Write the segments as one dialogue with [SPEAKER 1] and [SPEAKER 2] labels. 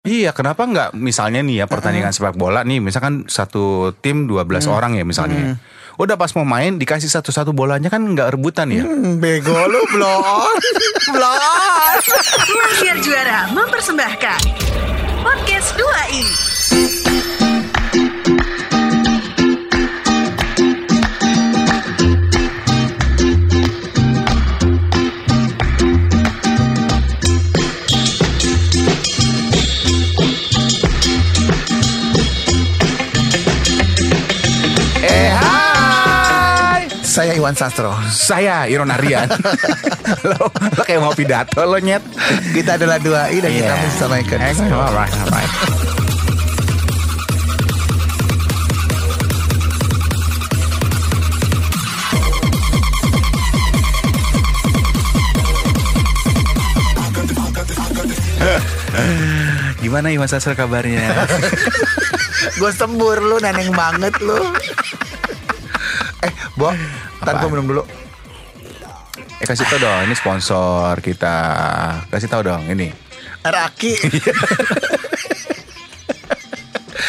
[SPEAKER 1] Iya, kenapa nggak misalnya nih ya pertandingan sepak bola nih, misalkan satu tim 12 orang ya misalnya. Udah pas mau main dikasih satu-satu bolanya kan nggak rebutan ya.
[SPEAKER 2] Hmm, Bego lu blon Blon
[SPEAKER 3] Mafia Juara mempersembahkan Podcast 2i
[SPEAKER 1] Eh, hai.
[SPEAKER 2] Saya Iwan Sastro
[SPEAKER 1] Saya Iron Aryan. lo, lo kayak mau pidato lo nyet.
[SPEAKER 2] Kita adalah 2I dan kita
[SPEAKER 1] Yeah.
[SPEAKER 2] Mr. Michael
[SPEAKER 1] Eh, alright, alright. Gimana Iwan Sasar kabarnya?
[SPEAKER 2] Gue sembur lu neneng banget lu Eh Bo Ntar
[SPEAKER 1] Apaan?
[SPEAKER 2] gue minum dulu
[SPEAKER 1] eh kasih tau dong, ini sponsor kita. Kasih tau dong, ini.
[SPEAKER 2] Air aki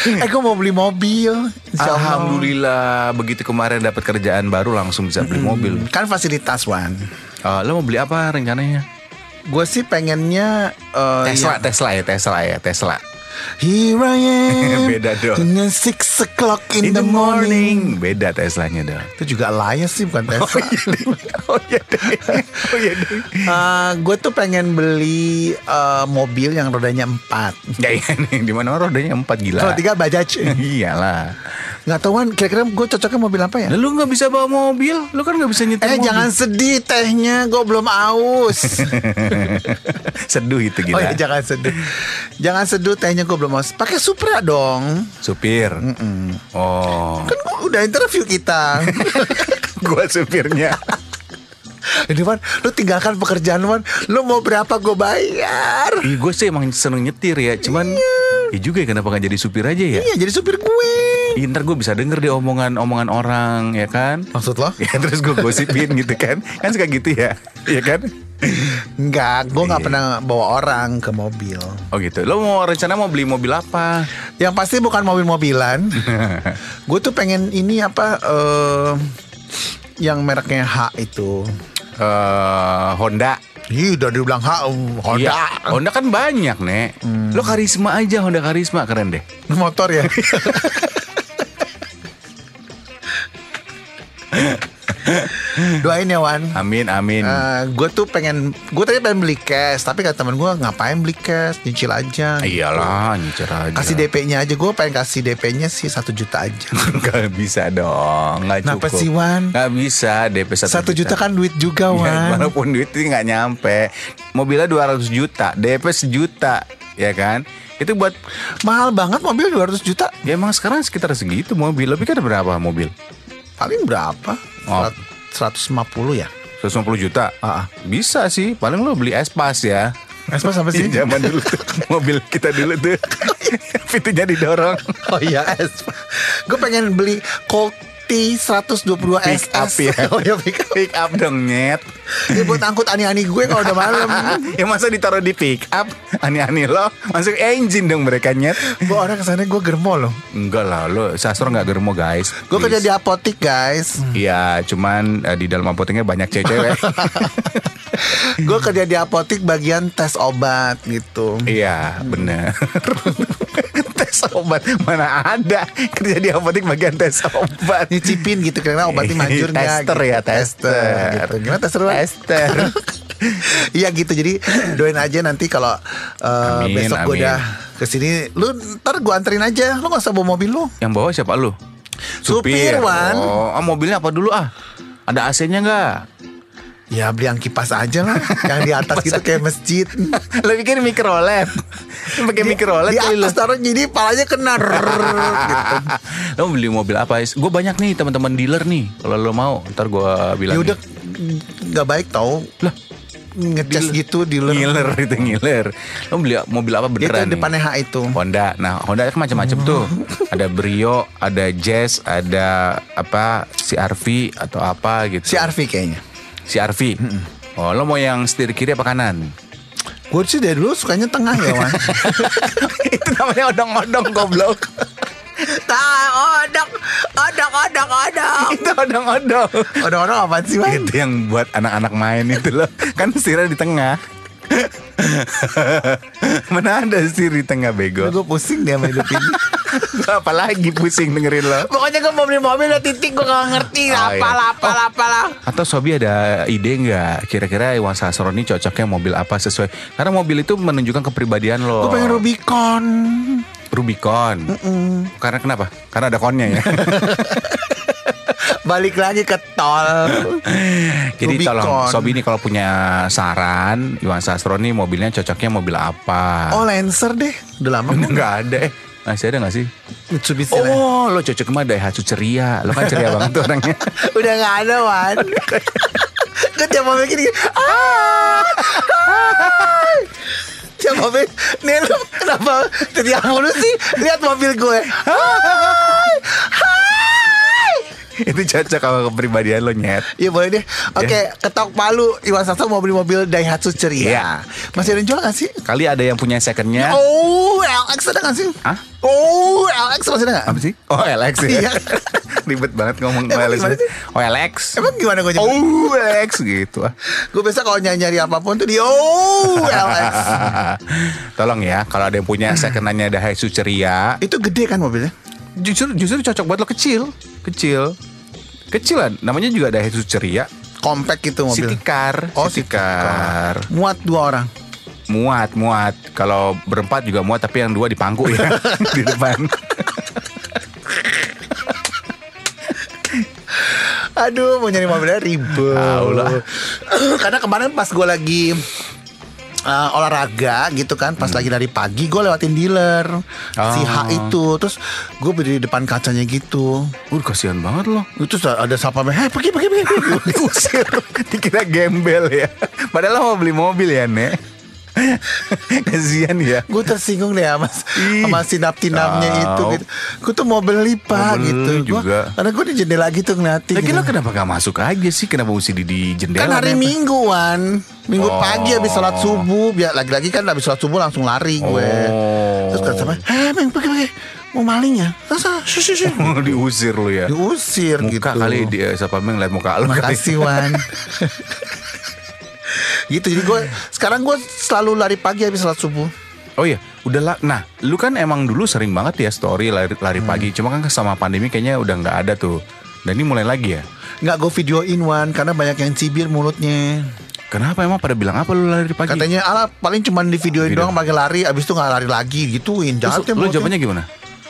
[SPEAKER 2] Iya. Eh gue mau beli mobil Insya Allah.
[SPEAKER 1] Alhamdulillah, begitu kemarin dapat kerjaan baru langsung bisa beli mobil.
[SPEAKER 2] Kan fasilitas Wan
[SPEAKER 1] Eh, lo mau beli apa rencananya?
[SPEAKER 2] Gue sih pengennya eh,
[SPEAKER 1] Tesla,
[SPEAKER 2] ya-
[SPEAKER 1] Tesla ya, Tesla ya, Tesla.
[SPEAKER 2] Here I am
[SPEAKER 1] Beda dong.
[SPEAKER 2] in the Six o'clock in, the morning.
[SPEAKER 1] Beda Teslanya dong.
[SPEAKER 2] Itu juga Elias sih bukan Tesla
[SPEAKER 1] Oh iya deh. Oh iya deh.
[SPEAKER 2] gue Eh, tuh pengen beli eh, mobil yang rodanya empat.
[SPEAKER 1] Ya iya nih, di mana rodanya empat gila.
[SPEAKER 2] Kalau tiga bajaj.
[SPEAKER 1] Iyalah.
[SPEAKER 2] Nggak tahuan. Kira-kira gue cocoknya mobil apa ya?
[SPEAKER 1] Lah, Lu nggak bisa bawa mobil, lu kan nggak bisa nyetir
[SPEAKER 2] Eh
[SPEAKER 1] mobil.
[SPEAKER 2] jangan sedih tehnya, gue belum aus.
[SPEAKER 1] seduh itu
[SPEAKER 2] oh
[SPEAKER 1] gila.
[SPEAKER 2] ya jangan sedih, jangan seduh tehnya gue belum aus. Pakai Supra dong.
[SPEAKER 1] Supir. Oh.
[SPEAKER 2] Kan gua udah interview kita.
[SPEAKER 1] gua supirnya.
[SPEAKER 2] Ini Wan, lu tinggalkan pekerjaan Wan. Lu mau berapa gue bayar?
[SPEAKER 1] Ih, gue sih emang seneng nyetir ya, cuman ya juga ya kenapa nggak jadi supir aja ya?
[SPEAKER 2] Iya jadi supir gue.
[SPEAKER 1] Ih, ntar gue bisa denger deh omongan-omongan orang ya kan?
[SPEAKER 2] Maksud lo?
[SPEAKER 1] Ya terus gue gosipin gitu kan Kan suka gitu ya Iya kan
[SPEAKER 2] Enggak, gue nggak
[SPEAKER 1] Iya.
[SPEAKER 2] pernah bawa orang ke mobil.
[SPEAKER 1] Oh gitu Lo mau rencana mau beli mobil apa
[SPEAKER 2] Yang pasti bukan mobil-mobilan. gue tuh pengen ini apa eh yang mereknya H itu.
[SPEAKER 1] Eh, Honda
[SPEAKER 2] Ih, udah dibilang H um, Honda. Hmm.
[SPEAKER 1] Iya, Honda kan banyak nek Lo karisma aja Honda karisma Keren deh
[SPEAKER 2] Motor ya. Doain ya Wan.
[SPEAKER 1] Amin amin
[SPEAKER 2] gue tuh pengen gue tadi pengen beli cash tapi kata temen gue ngapain beli cash nyicil aja
[SPEAKER 1] Iyalah nyecer aja
[SPEAKER 2] kasih DP-nya aja gue pengen kasih DP-nya sih satu juta aja
[SPEAKER 1] Gak bisa dong Gak cukup
[SPEAKER 2] Kenapa sih, Wan?
[SPEAKER 1] Gak bisa DP 1
[SPEAKER 2] satu juta kan duit juga
[SPEAKER 1] Ya,
[SPEAKER 2] Wan
[SPEAKER 1] walaupun duit itu nggak nyampe Mobilnya 200 juta DP sejuta Ya kan Itu buat
[SPEAKER 2] mahal banget mobil 200 juta
[SPEAKER 1] Ya emang sekarang sekitar segitu mobil Lebih kan berapa mobil
[SPEAKER 2] paling berapa?
[SPEAKER 1] Oh.
[SPEAKER 2] Serat- 150 ya?
[SPEAKER 1] 150 juta
[SPEAKER 2] Ah, ah.
[SPEAKER 1] Bisa sih Paling lo beli espas ya
[SPEAKER 2] Espas apa sih?
[SPEAKER 1] Iya, zaman dulu tuh Mobil kita dulu tuh Pintunya didorong
[SPEAKER 2] oh iya Espas. Gue pengen beli cold tea 122
[SPEAKER 1] Pick
[SPEAKER 2] SS.
[SPEAKER 1] up ya
[SPEAKER 2] oh iya pick up.
[SPEAKER 1] Pick up dong nyet
[SPEAKER 2] Ini buat angkut ani-ani gue kalau udah malam.
[SPEAKER 1] Ya masa ditaruh di pick up Aneh-aneh lo Masuk engine dong mereka nyet
[SPEAKER 2] gue orang kesana gue germo loh.
[SPEAKER 1] Enggak lah lo Sastro nggak germo guys
[SPEAKER 2] Gue kerja di apotik guys.
[SPEAKER 1] Iya cuman eh, di dalam apoteknya banyak cewek-cewek
[SPEAKER 2] Gue kerja di apotik bagian tes obat gitu.
[SPEAKER 1] Iya bener Tes obat Mana ada Kerja di apotek bagian tes obat
[SPEAKER 2] Nyicipin gitu karena obatnya manjur nggak
[SPEAKER 1] Tester
[SPEAKER 2] gitu.
[SPEAKER 1] ya, tester.
[SPEAKER 2] gitu. Gimana tester? Wan?
[SPEAKER 1] Tester.
[SPEAKER 2] Iya gitu jadi doain aja nanti kalau uh,
[SPEAKER 1] Amin,
[SPEAKER 2] besok
[SPEAKER 1] amin.
[SPEAKER 2] gue udah kesini lu ntar gue anterin aja lu gak usah bawa mobil lu
[SPEAKER 1] Yang bawa siapa lu?
[SPEAKER 2] Supir, Wan.
[SPEAKER 1] Oh, ah, mobilnya apa dulu ah? Ada AC-nya nggak?
[SPEAKER 2] ya beli yang kipas aja lah yang di atas gitu kayak masjid
[SPEAKER 1] Lo pikir mikrolet? Pakai mikrolet
[SPEAKER 2] di
[SPEAKER 1] kali lo.
[SPEAKER 2] atas taruh jadi palanya kena rrrr, gitu.
[SPEAKER 1] Lo mau beli mobil apa? Gue banyak nih teman-teman dealer nih. Kalau lo mau, ntar gue bilang.
[SPEAKER 2] ya udah nggak baik tau
[SPEAKER 1] Lah,
[SPEAKER 2] ngecas
[SPEAKER 1] Dealer.
[SPEAKER 2] gitu di luar
[SPEAKER 1] ngiler itu ngiler. Lo beli mobil apa
[SPEAKER 2] itu
[SPEAKER 1] beneran? nih?
[SPEAKER 2] depannya H itu
[SPEAKER 1] Honda. Nah, Honda kan macam-macam tuh. Ada Brio, ada Jazz, ada apa? CRV atau apa gitu.
[SPEAKER 2] si Arfi kayaknya
[SPEAKER 1] CRV. Oh, lo mau yang setir kiri apa kanan?
[SPEAKER 2] Gue sih dari dulu sukanya tengah ya Wan
[SPEAKER 1] itu namanya odong-odong goblok.
[SPEAKER 3] Tak, odok, odok, odok, odok.
[SPEAKER 1] itu odong-odong.
[SPEAKER 2] Orang-orang apa sih Wan?
[SPEAKER 1] itu yang buat anak-anak main itu loh. Kan sirnya di tengah. Mana ada sir di tengah bego.
[SPEAKER 2] Gue pusing dia sama hidup ini
[SPEAKER 1] Gua Apalagi pusing dengerin lo.
[SPEAKER 2] Pokoknya gue mau beli mobil udah titik gue gak
[SPEAKER 1] Oh,
[SPEAKER 2] ngerti
[SPEAKER 1] iya.
[SPEAKER 2] apalah apalah apalah.
[SPEAKER 1] Atau Sobi ada ide nggak kira-kira Iwan Sastro ini cocoknya mobil apa sesuai? Karena mobil itu menunjukkan kepribadian lo.
[SPEAKER 2] Gue pengen Rubicon.
[SPEAKER 1] Rubicon. Karena kenapa? Karena ada konnya ya.
[SPEAKER 2] Balik lagi ke tol.
[SPEAKER 1] Jadi
[SPEAKER 2] Rubicon.
[SPEAKER 1] tolong Sobi ini kalau punya saran Iwan Sastro ini mobilnya cocoknya mobil apa?
[SPEAKER 2] Oh Lancer deh. Udah lama kan?
[SPEAKER 1] nggak ada eh. Masih ada gak sih?
[SPEAKER 2] Mitsubishi Lancer.
[SPEAKER 1] Oh, lo cocok sama Daihatsu ceria. Lo kan ceria banget tuh orangnya.
[SPEAKER 2] Udah gak ada Wan. gue tiap mobil gini. gini, Ah, ah. tiap mobil. Nih lu kenapa tiap mulu sih? Lihat mobil gue. Hai. Hai.
[SPEAKER 1] Itu cocok sama kepribadian lo nyet.
[SPEAKER 2] Iya boleh deh. Oke,
[SPEAKER 1] Ya.
[SPEAKER 2] ketok palu Iwan Sastro mau beli mobil Daihatsu
[SPEAKER 1] Iya.
[SPEAKER 2] ceria. Masih ada yang jual gak sih?
[SPEAKER 1] Kali ada yang punya secondnya.
[SPEAKER 2] Oh, LX ada gak sih?
[SPEAKER 1] Ya. Hah?
[SPEAKER 2] Oh, LX masih ada gak?
[SPEAKER 1] Apa sih? Oh, Alex ya.
[SPEAKER 2] Iya.
[SPEAKER 1] Ribet banget ngomong
[SPEAKER 2] Emang
[SPEAKER 1] Alex.
[SPEAKER 2] gimana sih?
[SPEAKER 1] Oh, Alex.
[SPEAKER 2] Emang gimana gue nyebut?
[SPEAKER 1] Oh, Alex gitu. ah.
[SPEAKER 2] Gue biasa kalau nyari-nyari apapun tuh di oh, LX.
[SPEAKER 1] Tolong ya, kalau ada yang punya secondannya Daihatsu ceria,
[SPEAKER 2] Itu gede kan mobilnya?
[SPEAKER 1] justru justru cocok buat lo kecil, kecil. Kecilan, namanya juga Daihatsu ceria.
[SPEAKER 2] Compact gitu mobil.
[SPEAKER 1] City car,
[SPEAKER 2] Oh,
[SPEAKER 1] city
[SPEAKER 2] city car.
[SPEAKER 1] car.
[SPEAKER 2] Muat dua orang.
[SPEAKER 1] Muat, muat. Kalau berempat juga muat, tapi yang dua dipangku ya di depan.
[SPEAKER 2] Aduh, mau nyari mobilnya ribet.
[SPEAKER 1] Tahu lah.
[SPEAKER 2] Karena kemarin pas gue lagi uh, olahraga gitu kan, pas lagi dari pagi gue lewatin dealer si
[SPEAKER 1] Hmm. Ah.
[SPEAKER 2] H itu, terus gue berdiri di depan kacanya gitu.
[SPEAKER 1] Uh, kasihan banget lo.
[SPEAKER 2] Itu ada siapa? Eh, pergi, pergi, pergi.
[SPEAKER 1] Diusir, dikira gembel ya. Padahal lo mau beli mobil ya, Nek. kasihan ya.
[SPEAKER 2] gue tersinggung deh sama,
[SPEAKER 1] Ih.
[SPEAKER 2] sama sinap-tinapnya
[SPEAKER 1] Tahu.
[SPEAKER 2] itu gitu. Gue tuh mau beli
[SPEAKER 1] Mau
[SPEAKER 2] pak
[SPEAKER 1] beli
[SPEAKER 2] gitu. Gua-
[SPEAKER 1] juga.
[SPEAKER 2] karena gue di jendela gitu ngeliatin.
[SPEAKER 1] Lagi
[SPEAKER 2] gitu.
[SPEAKER 1] lo kenapa gak masuk aja sih? Kenapa mesti di, di jendela?
[SPEAKER 2] Kan hari
[SPEAKER 1] Nek?
[SPEAKER 2] mingguan Minggu
[SPEAKER 1] Oh.
[SPEAKER 2] pagi habis sholat subuh biar Lagi-lagi kan habis sholat subuh langsung lari gue
[SPEAKER 1] Oh.
[SPEAKER 2] Terus kata sama Eh Meng pergi pergi Mau maling ya Terus ah, shush, shush, shush.
[SPEAKER 1] Diusir lo ya.
[SPEAKER 2] Diusir
[SPEAKER 1] muka
[SPEAKER 2] gitu
[SPEAKER 1] kali dia siapa meng lihat muka lo kali.
[SPEAKER 2] Makasih Wan Gitu jadi gue Sekarang gue selalu lari pagi habis sholat subuh
[SPEAKER 1] Oh iya, udah lah. Nah, lu kan emang dulu sering banget ya story lari, lari
[SPEAKER 2] Hmm.
[SPEAKER 1] pagi. Cuma kan sama pandemi kayaknya udah nggak ada tuh. Dan ini mulai lagi ya.
[SPEAKER 2] Nggak gue videoin Wan Karena banyak yang cibir mulutnya
[SPEAKER 1] Kenapa emang pada bilang apa lu lari pagi?
[SPEAKER 2] Katanya ala paling cuman di videoin
[SPEAKER 1] Video.
[SPEAKER 2] doang pakai lari Abis itu nggak lari lagi gituin Jahat
[SPEAKER 1] Terus
[SPEAKER 2] ya
[SPEAKER 1] lu
[SPEAKER 2] mulutnya.
[SPEAKER 1] jawabannya gimana?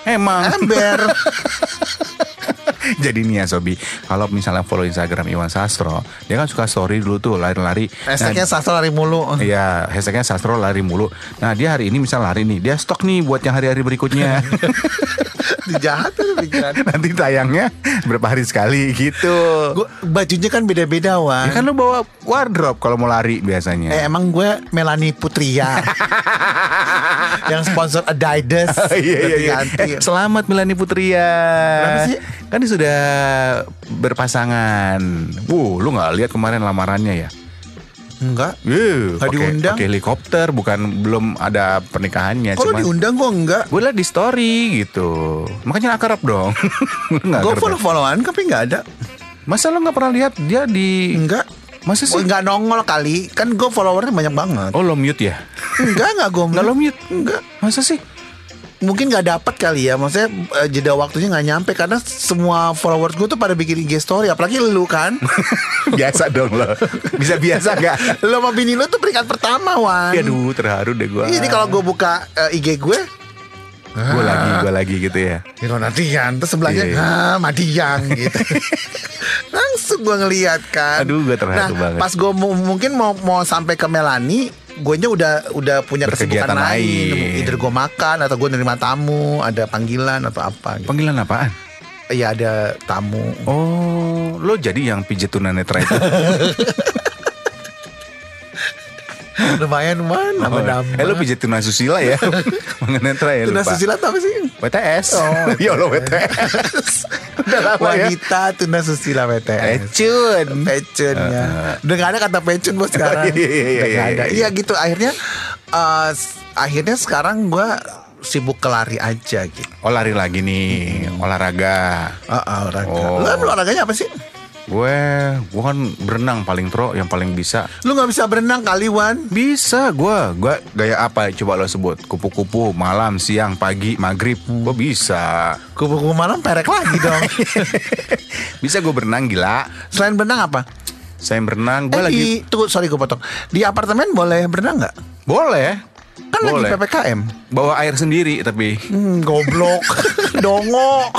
[SPEAKER 1] Emang.
[SPEAKER 2] Ember
[SPEAKER 1] Jadi nih ya Sobi, kalau misalnya follow Instagram Iwan Sastro, dia kan suka story dulu tuh lari-lari.
[SPEAKER 2] Hashtagnya
[SPEAKER 1] Nah,
[SPEAKER 2] sastra lari mulu
[SPEAKER 1] Iya, hashtagnya Sastro lari mulu. Nah dia hari ini misal lari nih, dia stok nih buat yang hari-hari berikutnya.
[SPEAKER 2] Jahat tuh pikiran
[SPEAKER 1] Nanti tayangnya berapa hari sekali gitu.
[SPEAKER 2] Gua, bajunya kan beda-beda wan.
[SPEAKER 1] Ya kan lu bawa wardrobe kalau mau lari biasanya.
[SPEAKER 2] Eh, emang gue Melani Putria yang sponsor Adidas.
[SPEAKER 1] Oh, iya, iya, iya. Eh,
[SPEAKER 2] Ganti-ganti.
[SPEAKER 1] Selamat Melani Putria.
[SPEAKER 2] Kenapa sih?
[SPEAKER 1] Kan dia sudah berpasangan. Wuh, lu nggak lihat kemarin lamarannya ya?
[SPEAKER 2] Enggak.
[SPEAKER 1] Wuh, Iya,
[SPEAKER 2] Nggak
[SPEAKER 1] pakai-
[SPEAKER 2] diundang.
[SPEAKER 1] pakai helikopter, bukan belum ada pernikahannya.
[SPEAKER 2] Kalau diundang gue enggak.
[SPEAKER 1] gue liat di story gitu. Makanya akrab dong. Lu nggak
[SPEAKER 2] Gue
[SPEAKER 1] akrab.
[SPEAKER 2] follow-followan tapi enggak ada.
[SPEAKER 1] Masa lu nggak pernah lihat dia di?
[SPEAKER 2] Enggak.
[SPEAKER 1] Masa sih?
[SPEAKER 2] Gue enggak nongol kali. Kan gue followernya banyak banget.
[SPEAKER 1] Oh lo mute ya?
[SPEAKER 2] Enggak, enggak gue.
[SPEAKER 1] Nggak lo mute?
[SPEAKER 2] Enggak.
[SPEAKER 1] Masa sih?
[SPEAKER 2] Mungkin nggak dapat kali ya. Maksudnya eh, jeda waktunya nggak nyampe karena semua followers gue tuh pada bikin IG story. Apalagi lu kan.
[SPEAKER 1] biasa dong lo. Bisa biasa nggak?
[SPEAKER 2] lu sama bini lu tuh peringkat pertama wan. Iya,
[SPEAKER 1] Aduh terharu deh gue.
[SPEAKER 2] Jadi kalau gue buka eh, IG gue
[SPEAKER 1] gue lagi gue lagi gitu ya.
[SPEAKER 2] Hero Nadian Terus sebelahnya
[SPEAKER 1] Iya.
[SPEAKER 2] ah Madian gitu Langsung gue ngeliat kan
[SPEAKER 1] Aduh, gua terharu banget.
[SPEAKER 2] Pas gue mu- mungkin mau mau sampai ke Melani Gue nya udah udah punya
[SPEAKER 1] Berkegiatan
[SPEAKER 2] kesibukan lain
[SPEAKER 1] lain.
[SPEAKER 2] Either gue makan Atau gue nerima tamu Ada panggilan atau apa gitu
[SPEAKER 1] Panggilan apaan?
[SPEAKER 2] Ya ada tamu
[SPEAKER 1] Oh, lo jadi yang pijet tunanetra itu.
[SPEAKER 2] Lumayan man Nama nama
[SPEAKER 1] eh lo pijet tunasusila ya? tunanetra ya
[SPEAKER 2] Tuna
[SPEAKER 1] lupa.
[SPEAKER 2] susila tuh apa sih?
[SPEAKER 1] WTS.
[SPEAKER 2] Oh,
[SPEAKER 1] ya lo WTS. Udah lama ya.
[SPEAKER 2] Wanita tuna susila PTS
[SPEAKER 1] Ecun.
[SPEAKER 2] pecun ya. Udah gak ada kata pecun bos
[SPEAKER 1] Iya,
[SPEAKER 2] sekarang.
[SPEAKER 1] iya, iya,
[SPEAKER 2] Udah nggak
[SPEAKER 1] iya,
[SPEAKER 2] ada.
[SPEAKER 1] iya.
[SPEAKER 2] Iya gitu akhirnya eh, s- akhirnya sekarang gue sibuk ke lari aja gitu.
[SPEAKER 1] Oh lari lagi nih,
[SPEAKER 2] Hmm.
[SPEAKER 1] olahraga.
[SPEAKER 2] Ah, ah, olahraga.
[SPEAKER 1] Oh.
[SPEAKER 2] Lu kan olahraganya apa sih?
[SPEAKER 1] Gue, gue kan berenang paling pro, yang paling bisa.
[SPEAKER 2] Lu nggak bisa berenang kali Wan?
[SPEAKER 1] Bisa gue, gue gaya apa ya coba lo sebut? Kupu-kupu, malam, siang, pagi, maghrib, gue bisa.
[SPEAKER 2] Kupu-kupu malam perek lagi dong.
[SPEAKER 1] Iya. bisa gue berenang gila.
[SPEAKER 2] Selain berenang apa?
[SPEAKER 1] Saya berenang, gue
[SPEAKER 2] Eh,
[SPEAKER 1] lagi
[SPEAKER 2] di, tunggu sorry gue potong. Di apartemen boleh berenang nggak?
[SPEAKER 1] boleh.
[SPEAKER 2] Kan
[SPEAKER 1] boleh.
[SPEAKER 2] lagi ppkm.
[SPEAKER 1] Bawa air sendiri tapi
[SPEAKER 2] Hmm, goblok, dongo.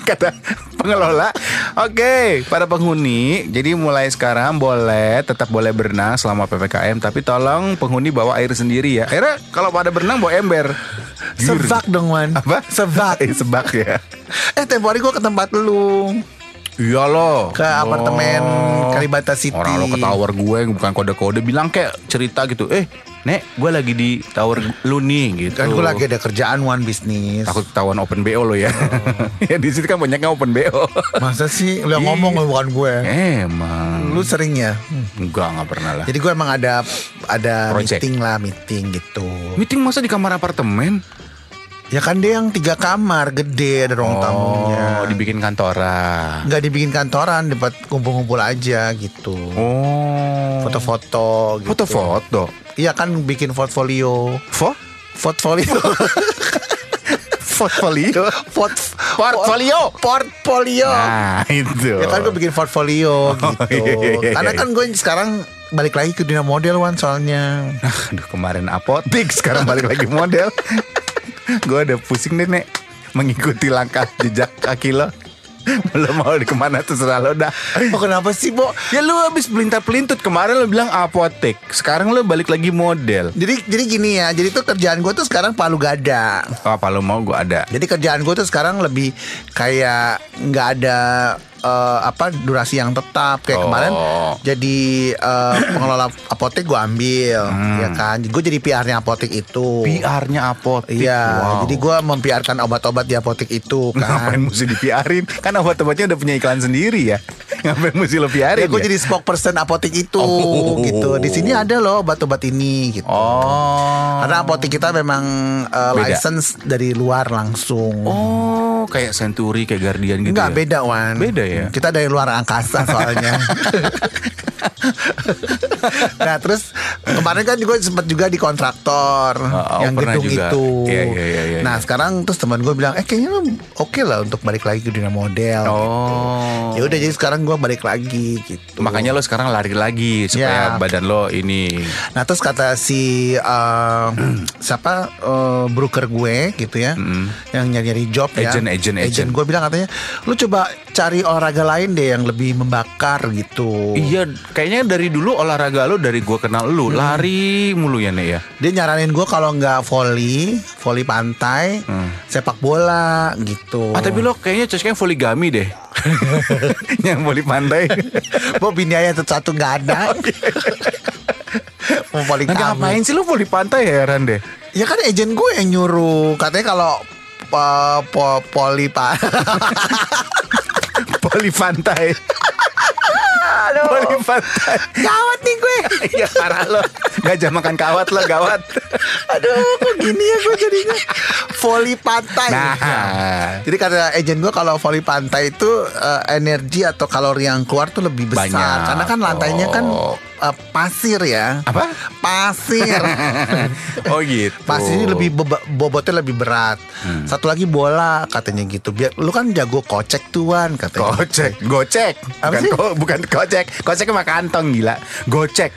[SPEAKER 1] kata pengelola. Oke, para penghuni, jadi mulai sekarang boleh tetap boleh berenang selama PPKM tapi tolong penghuni bawa air sendiri ya. Akhirnya kalau pada berenang bawa ember. Jur.
[SPEAKER 2] Sevak dong Wan.
[SPEAKER 1] Apa?
[SPEAKER 2] Sevak.
[SPEAKER 1] Eh, sebak ya.
[SPEAKER 2] Eh tempo hari gue ke tempat lu
[SPEAKER 1] Iya lo
[SPEAKER 2] Ke apartemen Kalibata City.
[SPEAKER 1] Orang lo ke tower gue Bukan kode-kode Bilang kayak cerita gitu Eh Nek gue lagi di tower lu nih gitu
[SPEAKER 2] Kan gue lagi ada kerjaan Wan bisnis
[SPEAKER 1] Takut ketahuan open BO lo ya Ya di situ kan banyaknya open BO
[SPEAKER 2] Masa sih lu yang
[SPEAKER 1] Iya.
[SPEAKER 2] ngomong lu bukan gue
[SPEAKER 1] Emang
[SPEAKER 2] Lu sering ya
[SPEAKER 1] Enggak nggak pernah lah
[SPEAKER 2] Jadi gue emang ada
[SPEAKER 1] Hmm.
[SPEAKER 2] ada
[SPEAKER 1] Project.
[SPEAKER 2] meeting lah meeting gitu
[SPEAKER 1] Meeting masa di kamar apartemen?
[SPEAKER 2] Ya kan dia yang tiga kamar gede ada ruang tamunya
[SPEAKER 1] Oh, dibikin kantoran.
[SPEAKER 2] Nggak dibikin kantoran dapat kumpul-kumpul aja gitu
[SPEAKER 1] Oh.
[SPEAKER 2] Foto-foto gitu
[SPEAKER 1] Foto-foto.
[SPEAKER 2] Iya kan bikin portfolio
[SPEAKER 1] Fo?
[SPEAKER 2] Portfolio
[SPEAKER 1] Portfolio.
[SPEAKER 2] Port
[SPEAKER 1] Portfolio.
[SPEAKER 2] Portfolio
[SPEAKER 1] Nah, itu.
[SPEAKER 2] Ya kan gue bikin portfolio gitu.
[SPEAKER 1] iya, iya, iya,
[SPEAKER 2] Karena
[SPEAKER 1] iya.
[SPEAKER 2] kan gue sekarang balik lagi ke dunia model Wan soalnya.
[SPEAKER 1] Aduh, kemarin apotik, sekarang balik lagi model. gue udah pusing deh, Nek. Mengikuti langkah jejak kaki lo. Lo mau di kemana terserah lo dah.
[SPEAKER 2] Oh kenapa sih, Bo?
[SPEAKER 1] Ya lu habis pelintar-pelintut kemarin lo bilang apotek, sekarang lo balik lagi model.
[SPEAKER 2] Jadi jadi gini ya. Jadi tuh kerjaan gue tuh sekarang palu gada.
[SPEAKER 1] Oh, apa lo mau gue ada?
[SPEAKER 2] Jadi kerjaan gue tuh sekarang lebih kayak nggak ada eh, apa durasi yang tetap kayak
[SPEAKER 1] Oh.
[SPEAKER 2] kemarin jadi eh, pengelola apotek gue ambil ya
[SPEAKER 1] Hmm.
[SPEAKER 2] kan gue jadi PR-nya apotek itu
[SPEAKER 1] PR-nya apotek.
[SPEAKER 2] iya
[SPEAKER 1] Wow.
[SPEAKER 2] jadi gue mempiarkan obat-obat di apotek itu kan
[SPEAKER 1] Ngapain mesti dipiarin? Kan obat-obatnya udah punya iklan sendiri ya. Ngapain mesti lo piarin?
[SPEAKER 2] Ya, gue
[SPEAKER 1] ya?
[SPEAKER 2] jadi spokesperson apotek itu
[SPEAKER 1] Oh.
[SPEAKER 2] gitu. Di sini ada loh obat-obat ini gitu.
[SPEAKER 1] Oh.
[SPEAKER 2] Karena apotek kita memang uh,
[SPEAKER 1] Beda.
[SPEAKER 2] license dari luar langsung.
[SPEAKER 1] Oh, kayak Century, kayak Guardian gitu.
[SPEAKER 2] Enggak
[SPEAKER 1] ya?
[SPEAKER 2] beda Wan
[SPEAKER 1] Beda ya?
[SPEAKER 2] Kita dari luar angkasa soalnya Nah terus Kemarin kan gue sempet juga di kontraktor
[SPEAKER 1] oh,
[SPEAKER 2] Yang
[SPEAKER 1] pernah
[SPEAKER 2] gedung
[SPEAKER 1] juga.
[SPEAKER 2] itu
[SPEAKER 1] Iya, iya, iya, iya,
[SPEAKER 2] Nah
[SPEAKER 1] iya.
[SPEAKER 2] sekarang terus teman gue bilang Eh kayaknya lu oke lah untuk balik lagi ke dunia model
[SPEAKER 1] Oh.
[SPEAKER 2] Ya udah jadi sekarang gue balik lagi gitu
[SPEAKER 1] Makanya lo sekarang lari lagi supaya
[SPEAKER 2] Ya.
[SPEAKER 1] badan lo ini.
[SPEAKER 2] Nah terus kata si eh, siapa eh, broker gue gitu ya, yang nyari-nyari job ya.
[SPEAKER 1] Agent, agent, agent.
[SPEAKER 2] Gue bilang katanya, lu coba cari olahraga lain deh yang lebih membakar gitu.
[SPEAKER 1] Iya, kayaknya dari dulu olahraga lo dari gua kenal lo lari mulu ya Nek ya.
[SPEAKER 2] Dia nyaranin gue kalau nggak volley, volley pantai, sepak bola gitu.
[SPEAKER 1] Hmm. Ah, tapi lo kayaknya cocoknya poligami deh. Yang voli pantai.
[SPEAKER 2] Bo bini aja tuh satu nggak ada. Mau volley
[SPEAKER 1] Nanti
[SPEAKER 2] kamu.
[SPEAKER 1] ngapain sih lo voli pantai heran deh.
[SPEAKER 2] Ya kan agent gue yang nyuruh katanya kalau eh, po, poli pa-
[SPEAKER 1] Poli pantai. Poli pantai.
[SPEAKER 2] Gawat nih gue.
[SPEAKER 1] Iya parah lo. Gajah makan kawat lo gawat.
[SPEAKER 2] Aduh, kok gini ya gue jadinya Voli pantai
[SPEAKER 1] Nah.
[SPEAKER 2] Jadi kata agent gue kalau voli pantai itu eh, Energi atau kalori yang keluar tuh lebih besar
[SPEAKER 1] Banyak.
[SPEAKER 2] Karena kan lantainya kan
[SPEAKER 1] Oh.
[SPEAKER 2] eh, pasir ya
[SPEAKER 1] Apa?
[SPEAKER 2] Pasir
[SPEAKER 1] Oh gitu.
[SPEAKER 2] Pasir ini lebih beba- bobotnya lebih berat
[SPEAKER 1] Hmm.
[SPEAKER 2] Satu lagi bola katanya gitu Biar Lu kan jago kocek tuan katanya
[SPEAKER 1] Gocek, gocek.
[SPEAKER 2] Apa
[SPEAKER 1] Bukan,
[SPEAKER 2] sih?
[SPEAKER 1] ko- bukan kocek. Kocek mah kantong gila. Gocek.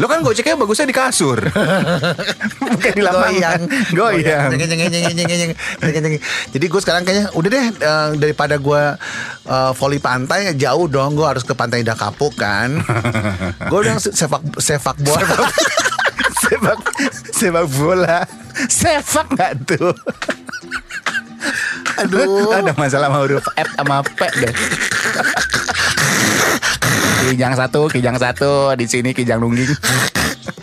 [SPEAKER 1] Lo kan goceknya bagusnya di kasur. bukan di lapangan.
[SPEAKER 2] goyang
[SPEAKER 1] Goyang.
[SPEAKER 2] Nyeng, nyeng, nyeng, nyeng, nyeng, nyeng, nyeng, nyeng. jadi gue sekarang kayaknya udah deh eh, daripada gue eh, volley pantai jauh dong gue harus ke pantai Indah Kapuk kan gue udah se- sepak sepak bola
[SPEAKER 1] sepak sepak bola. Sepak nggak tuh?
[SPEAKER 2] aduh
[SPEAKER 1] Ada masalah sama huruf F sama P deh. kijang satu, kijang satu di sini kijang lungging.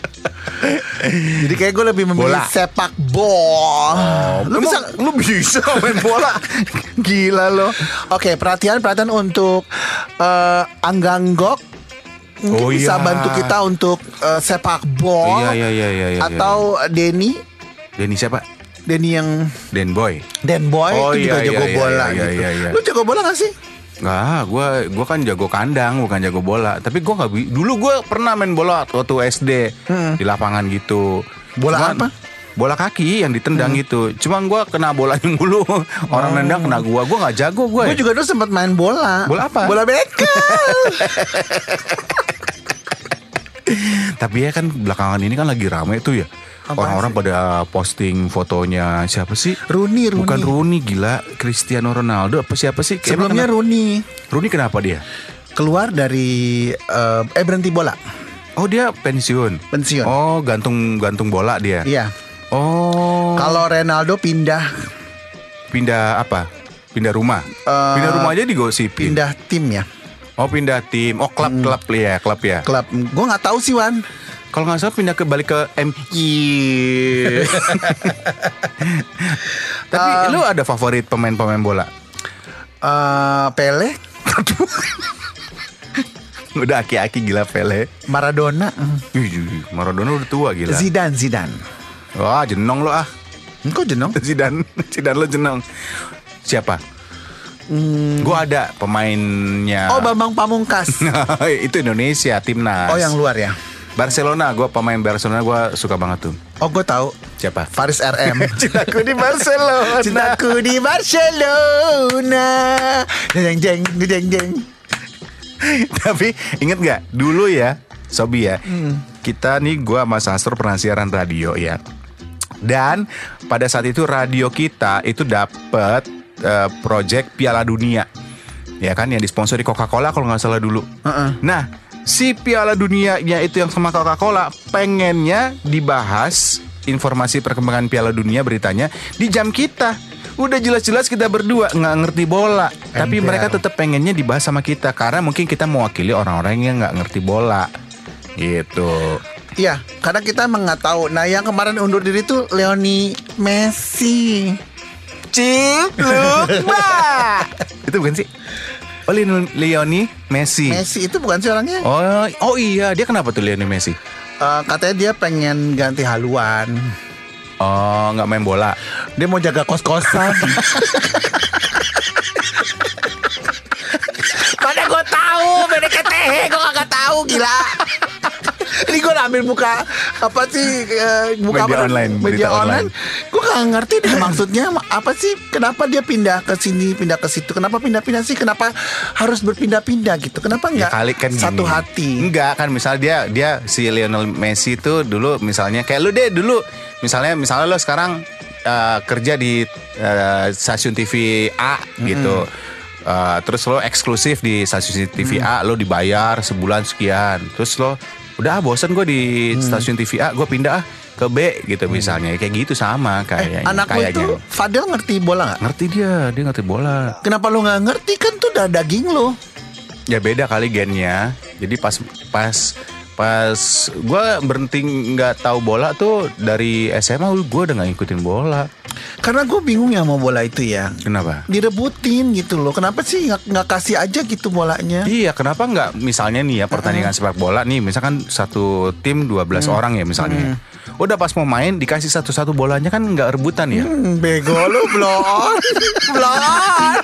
[SPEAKER 2] jadi kayak gue lebih memilih
[SPEAKER 1] Bola. Oh,
[SPEAKER 2] sepak bola lu bisa
[SPEAKER 1] lu bisa main bola. Gila lo.
[SPEAKER 2] oke perhatian perhatian untuk eh, angganggok mungkin
[SPEAKER 1] Oh, iya.
[SPEAKER 2] bisa bantu kita untuk eh, sepak bola
[SPEAKER 1] Iya, iya, iya, iya, iya,
[SPEAKER 2] atau Denny
[SPEAKER 1] Denny siapa?
[SPEAKER 2] Denny yang
[SPEAKER 1] Den Boy.
[SPEAKER 2] Dan Boy
[SPEAKER 1] Oh,
[SPEAKER 2] itu juga
[SPEAKER 1] iya,
[SPEAKER 2] jago
[SPEAKER 1] iya,
[SPEAKER 2] bola
[SPEAKER 1] iya, iya,
[SPEAKER 2] gitu.
[SPEAKER 1] iya, iya.
[SPEAKER 2] Lu jago bola gak sih?
[SPEAKER 1] Nah, gua gua kan jago kandang, bukan jago bola. Tapi gua nggak bi- dulu gua pernah main bola waktu SD di lapangan gitu.
[SPEAKER 2] Hmm. Bola apa? Hmm.
[SPEAKER 1] Bola kaki yang ditendang gitu. Cuman gua kena bolanya mulu. Orang nendang kena gua. Gua nggak jago gua.
[SPEAKER 2] Gue
[SPEAKER 1] ya.
[SPEAKER 2] Oh. juga dulu sempat main bola.
[SPEAKER 1] Bola apa?
[SPEAKER 2] Bola bekel.
[SPEAKER 1] Tapi ya kan belakangan ini kan lagi rame tuh ya.
[SPEAKER 2] Apaan
[SPEAKER 1] Orang-orang pada posting fotonya siapa sih?
[SPEAKER 2] Rooney, Rooney.
[SPEAKER 1] Bukan Rooney gila, Cristiano Ronaldo apa siapa sih? Emang
[SPEAKER 2] Sebelumnya
[SPEAKER 1] kenapa-
[SPEAKER 2] Rooney
[SPEAKER 1] Rooney kenapa dia?
[SPEAKER 2] keluar dari eh, eh berhenti bola.
[SPEAKER 1] Oh dia pensiun.
[SPEAKER 2] Pensiun.
[SPEAKER 1] Oh gantung gantung bola dia.
[SPEAKER 2] Iya.
[SPEAKER 1] Oh.
[SPEAKER 2] Kalau Ronaldo pindah
[SPEAKER 1] pindah apa? Pindah rumah.
[SPEAKER 2] Eh,
[SPEAKER 1] pindah rumah aja digosipin.
[SPEAKER 2] pindah tim ya.
[SPEAKER 1] Oh pindah tim. Oh klub klub ya klub ya.
[SPEAKER 2] Klub gue nggak tahu sih Wan.
[SPEAKER 1] Kalau nggak salah pindah ke balik ke MI. Tapi lu ada favorit pemain-pemain bola?
[SPEAKER 2] Eh, Pele,
[SPEAKER 1] Udah aki-aki gila Pele.
[SPEAKER 2] Maradona,
[SPEAKER 1] Ih, Maradona udah tua gila.
[SPEAKER 2] Zidane, Zidane.
[SPEAKER 1] Wah jenong lo ah.
[SPEAKER 2] Engkau jenong?
[SPEAKER 1] Zidane, Zidane lo jenong. Siapa? Gua ada pemainnya.
[SPEAKER 2] Oh Bambang Pamungkas.
[SPEAKER 1] Iya. itu Indonesia timnas.
[SPEAKER 2] oh yang luar ya.
[SPEAKER 1] Barcelona, gue pemain Barcelona gue suka banget tuh.
[SPEAKER 2] Oh gue tahu.
[SPEAKER 1] Siapa?
[SPEAKER 2] Faris RM.
[SPEAKER 1] Cintaku di Barcelona.
[SPEAKER 2] Cintaku di Barcelona. Jeng jeng jeng jeng.
[SPEAKER 1] Tapi inget nggak dulu ya, Sobi ya, kita nih gue sama Sastro pernah siaran radio ya. Dan pada saat itu radio kita itu dapet eh, project Piala Dunia, ya kan yang disponsori Coca-Cola kalau nggak salah dulu.
[SPEAKER 2] Heeh.
[SPEAKER 1] Nah si Piala Dunianya itu yang sama Coca-Cola pengennya dibahas informasi perkembangan Piala Dunia beritanya di jam kita. Udah jelas-jelas kita berdua nggak ngerti bola, tapi
[SPEAKER 2] Ember.
[SPEAKER 1] mereka tetap pengennya dibahas sama kita karena mungkin kita mewakili orang-orang yang nggak ngerti bola. Gitu.
[SPEAKER 2] Iya, karena kita emang nggak tahu. Nah, yang kemarin undur diri tuh Leoni Messi.
[SPEAKER 1] Ciklukba. itu bukan sih? Oh, Lionel- Leoni Messi.
[SPEAKER 2] Messi itu bukan sih orangnya.
[SPEAKER 1] Oh, oh iya, dia kenapa tuh Leoni Messi?
[SPEAKER 2] Eh, katanya dia pengen ganti haluan.
[SPEAKER 1] Oh, nggak main bola.
[SPEAKER 2] Dia mau jaga kos-kosan.
[SPEAKER 3] Mana gue tahu BDKTH Gue Eh, kagak tahu gila
[SPEAKER 2] Ini gue ambil buka apa sih eh, buka
[SPEAKER 1] Media
[SPEAKER 2] apa?
[SPEAKER 1] online, berita
[SPEAKER 2] media online.
[SPEAKER 1] online.
[SPEAKER 2] Gue nggak ngerti deh maksudnya apa sih? Kenapa dia pindah ke sini, pindah ke situ? Kenapa pindah-pindah sih? Kenapa harus berpindah-pindah gitu? Kenapa
[SPEAKER 1] Ya
[SPEAKER 2] nggak
[SPEAKER 1] kali kan gini.
[SPEAKER 2] satu hati?
[SPEAKER 1] Enggak kan misalnya dia dia si Lionel Messi itu dulu misalnya kayak lu deh dulu misalnya misalnya lo sekarang eh, kerja di eh, stasiun TV A gitu. Eh, terus lo eksklusif di stasiun TV A lo dibayar sebulan sekian. Terus lo udah ah, bosen gue di
[SPEAKER 2] Mm.
[SPEAKER 1] stasiun TV A gue pindah ah ke B gitu misalnya kayak gitu sama kayak
[SPEAKER 2] Anak lu Mm. Eh, itu Fadel ngerti bola nggak?
[SPEAKER 1] ngerti dia dia ngerti bola
[SPEAKER 2] Kenapa lu nggak ngerti kan tuh udah daging lu?
[SPEAKER 1] ya beda kali gennya jadi pas pas pas gue berhenti nggak tahu bola tuh dari SMA gue udah nggak ngikutin bola
[SPEAKER 2] Karena gue bingung ya mau bola itu ya.
[SPEAKER 1] kenapa
[SPEAKER 2] Direbutin gitu loh. Kenapa sih nggak- nggak kasih aja gitu bolanya?
[SPEAKER 1] Iya, kenapa nggak misalnya nih ya pertandingan sepak bola nih, misalkan satu tim 12 orang ya misalnya. Udah pas mau main dikasih satu-satu bolanya kan nggak rebutan ya.
[SPEAKER 2] Hmm, Bego lu blow on. blow on.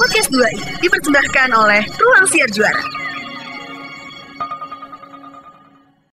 [SPEAKER 4] Podcast 2 dipersembahkan oleh Ruang Siar Juara.